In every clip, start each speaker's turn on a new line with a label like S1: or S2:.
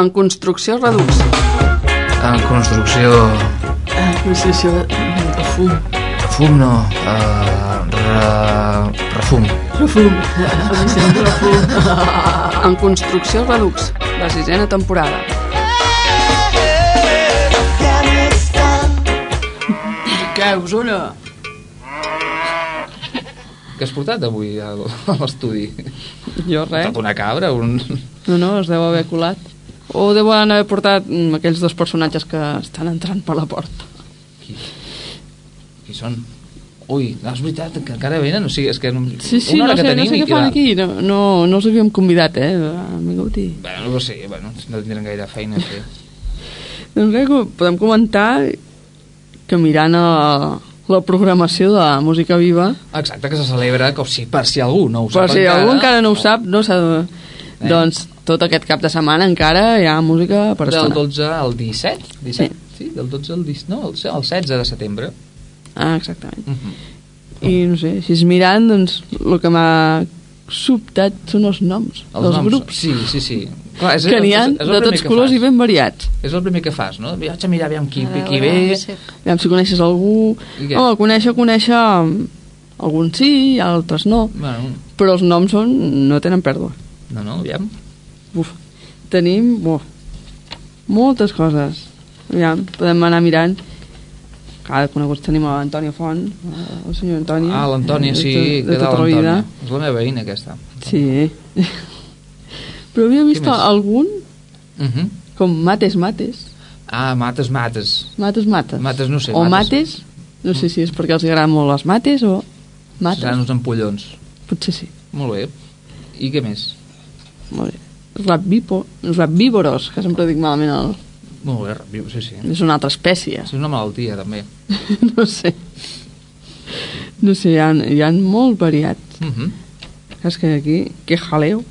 S1: En construcció reducció.
S2: En construcció...
S3: Ah, Construcció de fum.
S2: Refum no... Uh, re... Refum.
S3: Refum. Definició de refum.
S1: En construcció redux, la sisena temporada.
S3: Què, Osona?
S2: Què has portat avui a a l'estudi? Eh?
S1: Jo res.
S2: Una cabra? Un...
S1: No, no, es deu haver colat. O deuen haver portat mm, aquells dos personatges que estan entrant per la porta.
S2: Qui, qui són? Ui, no, és veritat, que encara venen? O sigui, és que... no-
S1: Sí, sí,
S2: una hora
S1: no sé,
S2: que
S1: no
S2: tenim
S1: sé
S2: i
S1: què fan
S2: va-
S1: aquí. No, no, no els havíem convidat, eh? Han vingut i...
S2: Bueno, no ho sé, bueno, no tindran gaire feina a fer.
S1: Doncs res, com- podem comentar que mirant a la programació de Música Viva,
S2: Exacte, que se celebra com si per si algú no ho
S1: per
S2: sap
S1: si
S2: encara.
S1: algú encara no ho sap, no s'ha de...
S2: Eh.
S1: Doncs tot aquest cap de setmana encara hi ha música per
S2: Del
S1: estona.
S2: 12 al 17? 17? Sí. sí del 12 al 17, no, al se- al 16 de setembre.
S1: Ah, exactament.
S2: Uh -huh.
S1: I no sé, si es mirant, doncs el que m'ha sobtat són els noms els dels noms, grups,
S2: Sí, sí, sí. Clar, és,
S1: que n'hi ha
S2: és- és el
S1: de
S2: primer
S1: tots
S2: que
S1: colors
S2: fas.
S1: i ben variats.
S2: És el primer que fas, no? Vaig a mirar aviam qui,
S4: A
S2: qui
S4: veure,
S2: ve...
S4: no sé.
S1: Aviam si coneixes algú...
S2: I què?
S1: Home, conèixer, conèixer... mm, Alguns sí, altres no.
S2: Bueno,
S1: Però els noms són, no tenen pèrdua.
S2: no, no, aviam.
S1: Uf, tenim uf, moltes coses. Aviam, podem anar mirant. Clar, de coneguts tenim a l'Antonio Font, eh, el senyor Antoni.
S2: Ah, l'Antònia,
S1: eh,
S2: sí,
S1: de, de,
S2: què tal
S1: tota la vida.
S2: l'Antònia? És la meva veïna, aquesta.
S1: Sí. Però havia vist
S2: més?
S1: algun
S2: Uh -huh.
S1: com Mates Mates.
S2: Ah, mates, mates.
S1: Mates Mates.
S2: Mates, no sé,
S1: O
S2: Mates.
S1: Mates. No sé si és perquè els agraden molt les mates o... Mates.
S2: Seran uns empollons.
S1: Potser sí.
S2: Molt bé. I què més?
S1: Molt bé. Rabbipo, rabívoros, que sempre dic malament el...
S2: Molt bé, viu, sí, sí.
S1: És una altra espècie.
S2: És una malaltia, també.
S1: no sé no sé, hi ha, hi ha molt variat
S2: Uh -huh.
S1: és que aquí, que jaleu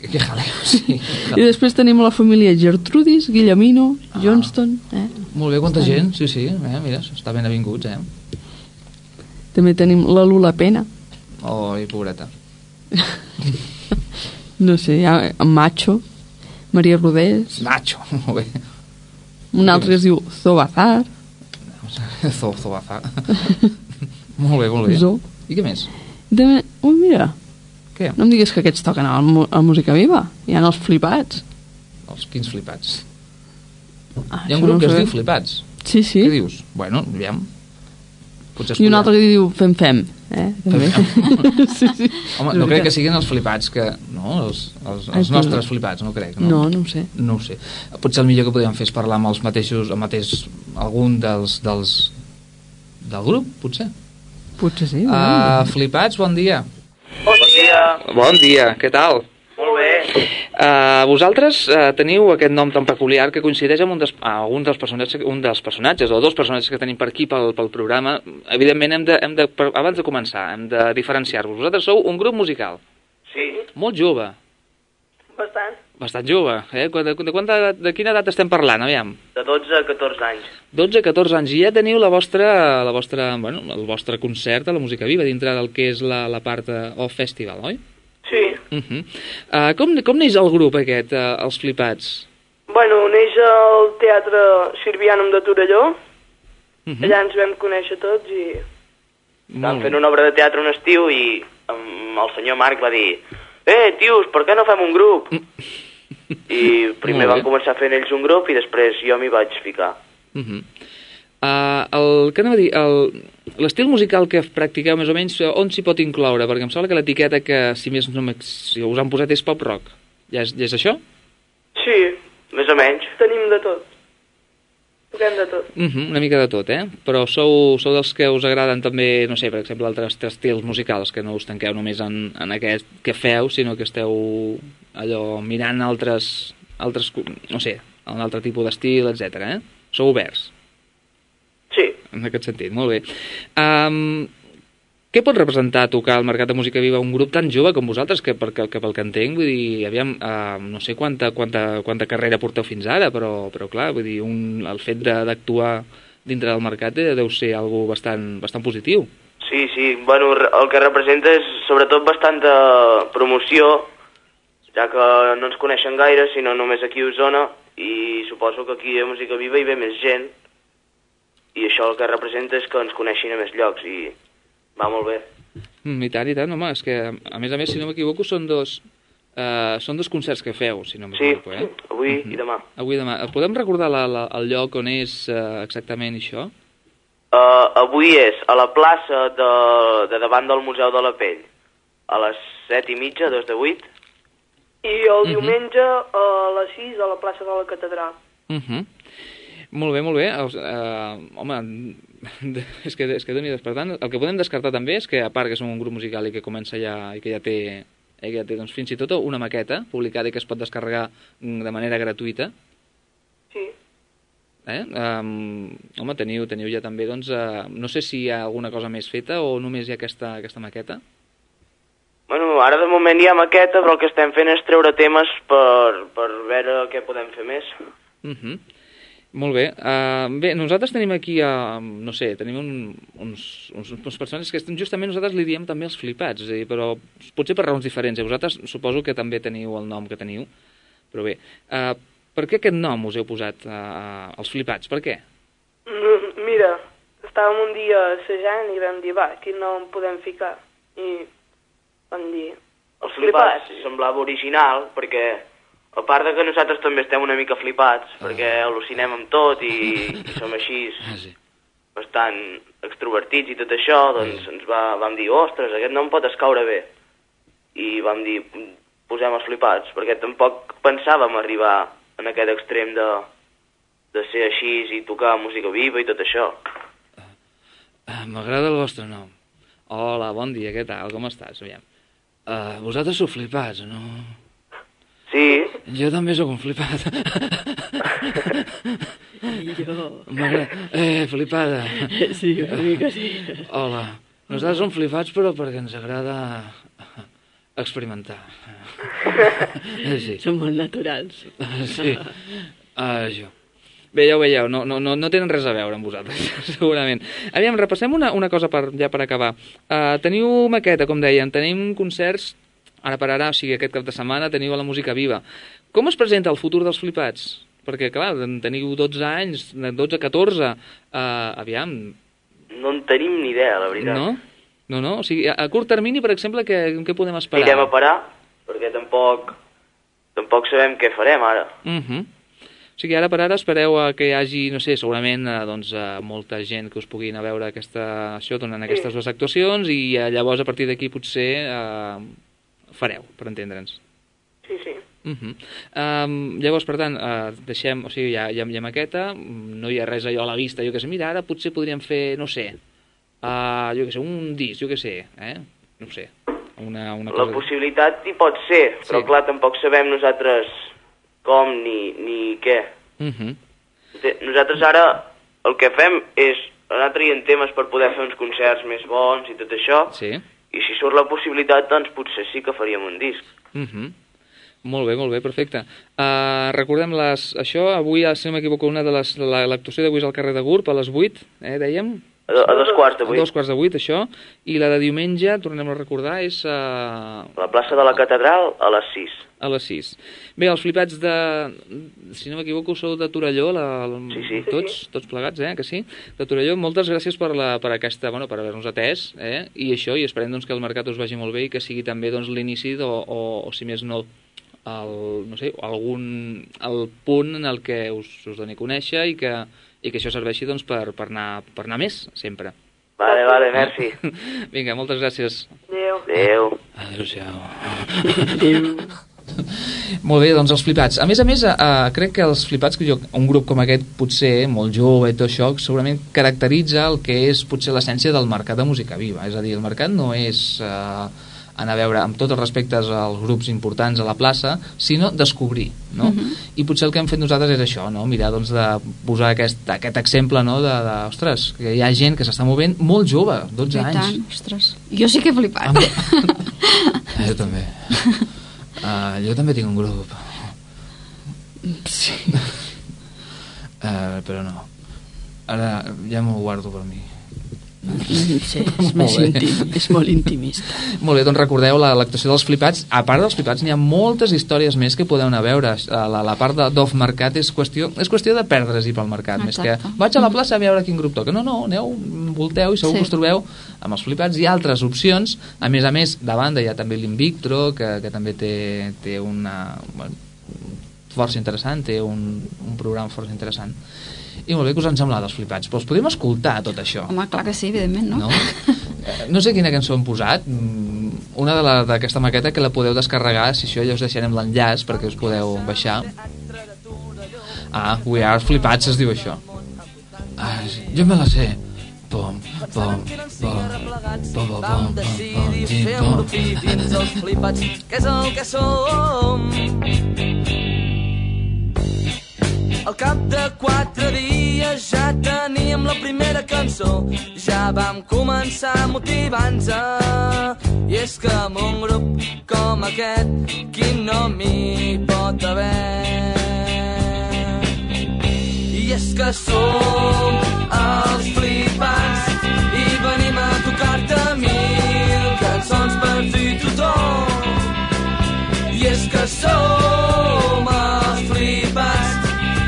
S2: Que, que jaleu, sí.
S1: i després tenim la família Gertrudis Guillemino,
S2: Ah.
S1: Johnston eh?
S2: Molt bé, quanta gent, sí, sí. Eh? Mira, està ben avinguts, eh?
S1: també tenim la Lula Pena
S2: Oi, pobreta.
S1: no sé, hi ha en Macho Maria Rodés
S2: Nacho, molt bé.
S1: un altre que es diu Zobazar
S2: Zo, zobafa. molt bé, molt bé.
S1: Zo.
S2: I què més?
S1: de... ui mira,
S2: Què?
S1: no em diguis que aquests toquen a, la mu- a Música Viva hi ha els flipats
S2: Els quins flipats.
S1: ah,
S2: Hi ha
S1: això
S2: un grup
S1: no
S2: que
S1: ho
S2: es
S1: sabia.
S2: diu Flipats.
S1: sí,
S2: Què
S1: sí,
S2: dius? Bueno, aviam. Potser
S1: i un altre que diu Fem Fem eh? també sí, sí.
S2: Home,
S1: És
S2: no crec
S1: veritat.
S2: que siguin els flipats que... No, els, els,
S1: Ai,
S2: els
S1: tu.
S2: nostres flipats, no crec. No?
S1: no, no ho sé
S2: No ho sé. Potser el millor que podríem fer és parlar amb els mateixos, el mateix, algun dels, dels, del grup, potser.
S1: Potser sí. doncs.
S2: Uh, flipats, bon dia.
S5: Bon dia.
S2: Bon dia, què tal?
S5: Molt bé.
S2: Uh, vosaltres uh, teniu aquest nom tan peculiar que coincideix amb un dels, ah, un, dels personatges, un dels personatges o dos personatges que tenim per aquí pel, pel programa. Evidentment, hem de, hem de, per- abans de començar, hem de diferenciar-vos. Vosaltres sou un grup musical,
S5: Sí,
S2: molt jove,
S5: bastant.
S2: bastant jove. Eh? De, de, de, quanta, edat- de quina edat estem parlant, aviam?
S5: De 12 a 14 anys.
S2: 12, 14 anys, i ja teniu la vostra, la vostra, bueno, el vostre concert a la Música Viva dintre del que és la, la part eh, Off Festival, oi?
S5: Sí.
S2: Uh -huh. uh, com, com neix el grup aquest, uh, Els Flipats?
S5: Bueno, neix al Teatre Sirvianum de Torelló. Uh
S2: Mhm.
S5: -huh. Allà ens vam conèixer tots i...
S2: Molt
S5: Estàvem fent
S2: bé.
S5: una obra de teatre un estiu i um, el senyor Marc va dir «Eh, tios, per què no fem un grup?» Mm. I primer
S2: Molt bé.
S5: van començar fent ells un grup i després jo m'hi vaig ficar.
S2: Uh -huh. uh, el, què anava a dir? El- L'estil musical que practiqueu, més o menys, eh, on s'hi pot incloure? Perquè em sembla que l'etiqueta que, si més no m'ex- si us han posat, és pop rock. Ja és, ja és això?
S5: Sí, més o menys. Tenim de tot. Toquem de tot.
S2: Uh -huh, una mica de tot, eh? Però sou, sou dels que us agraden també, no sé, per exemple, altres estils musicals, que no us tanqueu només en, en aquest que feu, sinó que esteu allò mirant altres, altres co- no sé, un altre tipus d'estil, etc. eh? Sou oberts,
S5: Sí.
S2: en aquest sentit, molt bé. Um, què pot representar tocar al Mercat de Música Viva un grup tan jove com vosaltres, que, perquè, que pel que entenc, vull dir, aviam, uh, no sé quanta, quanta, quanta carrera porteu fins ara, però, però clar, vull dir, un, el fet de- d'actuar dintre del mercat eh, deu ser algo bastant, bastant positiu.
S5: Sí, sí, bueno, re- el que representa és sobretot bastanta promoció ja que no ens coneixen gaire, sinó només aquí a Osona, i suposo que aquí a Música Viva hi ve més gent, i això el que representa és que ens coneixin a més llocs, i va molt bé.
S2: Mm, I tant, i tant, home, és que, a més a més, si no m'equivoco, són dos... Uh, són dos concerts que feu, si no
S5: Sí,
S2: m'equivoco, eh?
S5: avui i demà.
S2: Avui i demà. Eh, Podem recordar la, la, el lloc on és uh, exactament això?
S5: Uh, avui és a la plaça de, de davant del Museu de la Pell, a les set i mitja, dos de vuit.
S4: I el diumenge a les 6 a la plaça de la catedral.
S2: Uh -huh. Molt bé, molt bé. Els, uh, home, és que, és que doni Per tant, el que podem descartar també és que, a part que som un grup musical i que comença ja, i que ja té, i que ja té doncs, fins i tot una maqueta publicada i que es pot descarregar mm, de manera gratuïta,
S4: Sí.
S2: eh? Um, home, teniu, teniu ja també, doncs, uh, no sé si hi ha alguna cosa més feta o només hi ha aquesta, aquesta maqueta.
S5: Bueno, ara de moment hi ha maqueta, però el que estem fent és treure temes per, per veure què podem fer més.
S2: Uh -huh. Molt bé. Uh, bé, nosaltres tenim aquí, uh, no sé, tenim un, uns, uns, uns persones que estem, justament nosaltres li diem també els flipats, és a dir, però potser per raons diferents. Eh? Vosaltres suposo que també teniu el nom que teniu, però bé. Uh, per què aquest nom us heu posat, uh, els flipats? Per què?
S4: Mm, Mira, estàvem un dia assajant i vam dir, va, quin nom podem ficar? I vam dir,
S5: Els flipats semblava original, perquè a part de que nosaltres també estem una mica flipats, perquè al·lucinem amb tot i, i som així
S2: Ah, sí.
S5: bastant extrovertits i tot això, doncs ens va, vam dir, ostres, aquest nom pot escaure bé. I vam dir, "Mm, posem els flipats, perquè tampoc pensàvem arribar en aquest extrem de, de ser així i tocar música viva i tot això.
S2: Uh, M'agrada el vostre nom. Hola, bon dia, què tal? Com estàs? Aviam. Uh, vosaltres sou flipats, o no?
S5: Sí,
S2: Jo també sóc un flipat.
S3: I jo...
S2: M'agrada. Eh, flipada.
S3: Sí, una mica sí.
S2: Hola. Nosaltres som flipats, però perquè ens agrada experimentar. Eh, Sí,
S3: Som molt naturals.
S2: sí. Ah, Això. Bé, ja ho veieu, no, no, no no tenen res a veure amb vosaltres, segurament. Aviam, repassem una, una cosa per, ja per acabar. Uh, teniu maqueta, com deien, tenim concerts, ara per ara, o sigui, aquest cap de setmana teniu a la música viva. Com es presenta el futur dels flipats? Perquè, clar, en teniu 12 anys, de 12 a 14, uh, aviam,
S5: no en tenim ni idea, la veritat.
S2: No? No, no? O sigui, a, a curt termini, per exemple, què, què podem esperar?
S5: Anirem a parar, perquè tampoc, tampoc sabem què farem ara.
S2: Uh -huh. O sigui, ara per ara espereu a que hi hagi, no sé, segurament eh, doncs, eh, molta gent que us pugui anar a veure aquesta, això, donant aquestes dues actuacions i eh, llavors a partir d'aquí potser eh, fareu, per entendre'ns.
S4: Sí, sí.
S2: Uh -huh. um, llavors, per tant, uh, deixem, o sigui, hi ha, hi ha, hi ha maqueta, mm, no hi ha res allò a la vista, jo que sé, mira, ara potser podríem fer, no sé, uh, jo que sé, un disc, jo que sé, eh? no ho sé, una, una
S5: La
S2: cosa...
S5: possibilitat hi pot ser, però
S2: Sí.
S5: clar, tampoc sabem nosaltres com ni, ni què.
S2: Uh -huh.
S5: Ente- Nosaltres ara el que fem és anar traient temes per poder fer uns concerts més bons i tot això,
S2: Sí.
S5: i si surt la possibilitat, doncs potser sí que faríem un disc.
S2: Uh -huh. Molt bé, molt bé, perfecte. Uh, recordem les, això, avui, ah, si no m'equivoco, una de les... la- L'actuació d'avui és al carrer de Gurb, a les 8, eh, dèiem?
S5: A, do- a dos quarts de
S2: A dos
S5: vuit.
S2: quarts de 8, això. I la de diumenge, tornem a recordar, és uh,
S5: A la plaça de la catedral a les 6.
S2: a les 6. Bé, els flipats de... Si no m'equivoco, sou de Torelló, la, la,
S5: Sí, sí.
S2: Tots, tots plegats, eh, que sí? De Torelló, moltes gràcies per, la, per aquesta... Bueno, per haver-nos atès, eh? I això, i esperem doncs, que el mercat us vagi molt bé i que sigui també doncs, l'inici o, o, o, si més no, el, no sé, algun, el punt en el que us, us doni a conèixer i que, i que això serveixi doncs, per, per, anar, per anar més, sempre.
S5: Vale, vale, merci.
S2: Vinga, moltes gràcies.
S4: Adéu.
S5: Adéu.
S2: Adéu-siau. Molt bé, doncs els flipats. A més a més, eh, crec que els flipats, que jo, un grup com aquest, potser molt jove i tot això, segurament caracteritza el que és potser l'essència del mercat de música viva. És a dir, el mercat no és eh, anar a veure, amb tots els respectes als grups importants a la plaça, sinó descobrir, no? I potser el que hem fet nosaltres és això, no? Mirar, doncs, de posar aquest, aquest exemple, no?, de, de, ostres, que hi ha gent que s'està movent molt jove, 12 anys.
S6: Ostres, jo sí que he flipat.
S2: Ah, Jo també. Uh, jo també tinc un grup. Sí. ah, Uh, però no. Ara ja m'ho guardo per mi.
S3: No sé, és
S2: Molt
S3: més
S2: bé.
S3: íntim, és molt intimista.
S2: Molt bé, doncs recordeu la- l'actuació dels flipats. A part dels flipats, n'hi ha moltes històries més que podeu anar a veure. Eh, La, la part de- d'off mercat és qüestió, és qüestió de perdre's-hi pel mercat. Més que
S6: Exacte.
S2: vaig a la plaça a veure quin grup toca. No, no, aneu, volteu i segur sí.
S6: Sí.
S2: que us trobeu amb els flipats i altres opcions. A més a més, de banda hi ha també l'Invictro, que, que també té, té una... Bueno, força interessant, té un, un programa força interessant. I molt bé, que us han semblat els flipats? Però els podem escoltar, tot això.
S6: Home, clar que sí, evidentment, no?
S2: No? Eh, No sé quina cançó hem posat, mm, una de la- d'aquesta maqueta que la podeu descarregar, si això ja us deixarem l'enllaç perquè us podeu baixar. Ah, We Are Flipats es diu això. Ah, sí, jo me la sé. Pom, pom, pom, pom, pom,
S7: Vam
S2: pom, pom,
S7: decidir
S2: tim,
S7: fer un
S2: pom.
S7: grupi dins els flipats, que és el que som. Al cap de quatre dies ja teníem la primera cançó, ja vam començar a motivar-nos. I és que amb un grup com aquest, quin nom hi pot haver? I és que som els flipats i venim a tocar-te mil cançons per tu i tothom. I és que som els flipats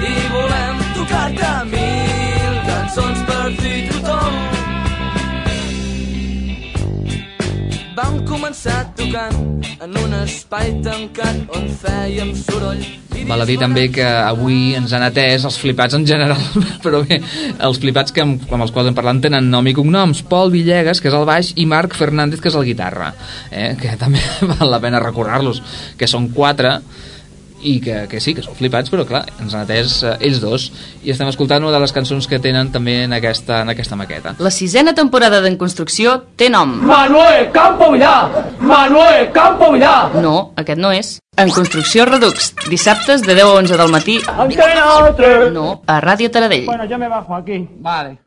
S7: i volem tocar-te mil cançons per tu i tothom. Vam començar tocant en un espai tancat on fèiem soroll. i
S2: Val a dir també que avui ens han atès els flipats en general, però bé, els flipats que, amb, amb els quals hem parlat tenen nom i cognoms. Pol Villegas, que és el baix, i Marc Fernández, que és el guitarra, eh? que també val la pena recordar-los, que són quatre, i que, que sí, que són flipats, però clar, ens han atès eh, ells dos, i estem escoltant una de les cançons que tenen també en aquesta, en aquesta maqueta.
S8: La sisena temporada d'En Construcció té nom.
S7: Manuel Campo Villar! Manuel Campo Villar!
S8: No, aquest no és. En Construcció Redux, dissabtes de 10 a 11 del matí.
S7: Antena 3!
S8: No, a Ràdio Taradell.
S7: yo me bajo aquí. Vale.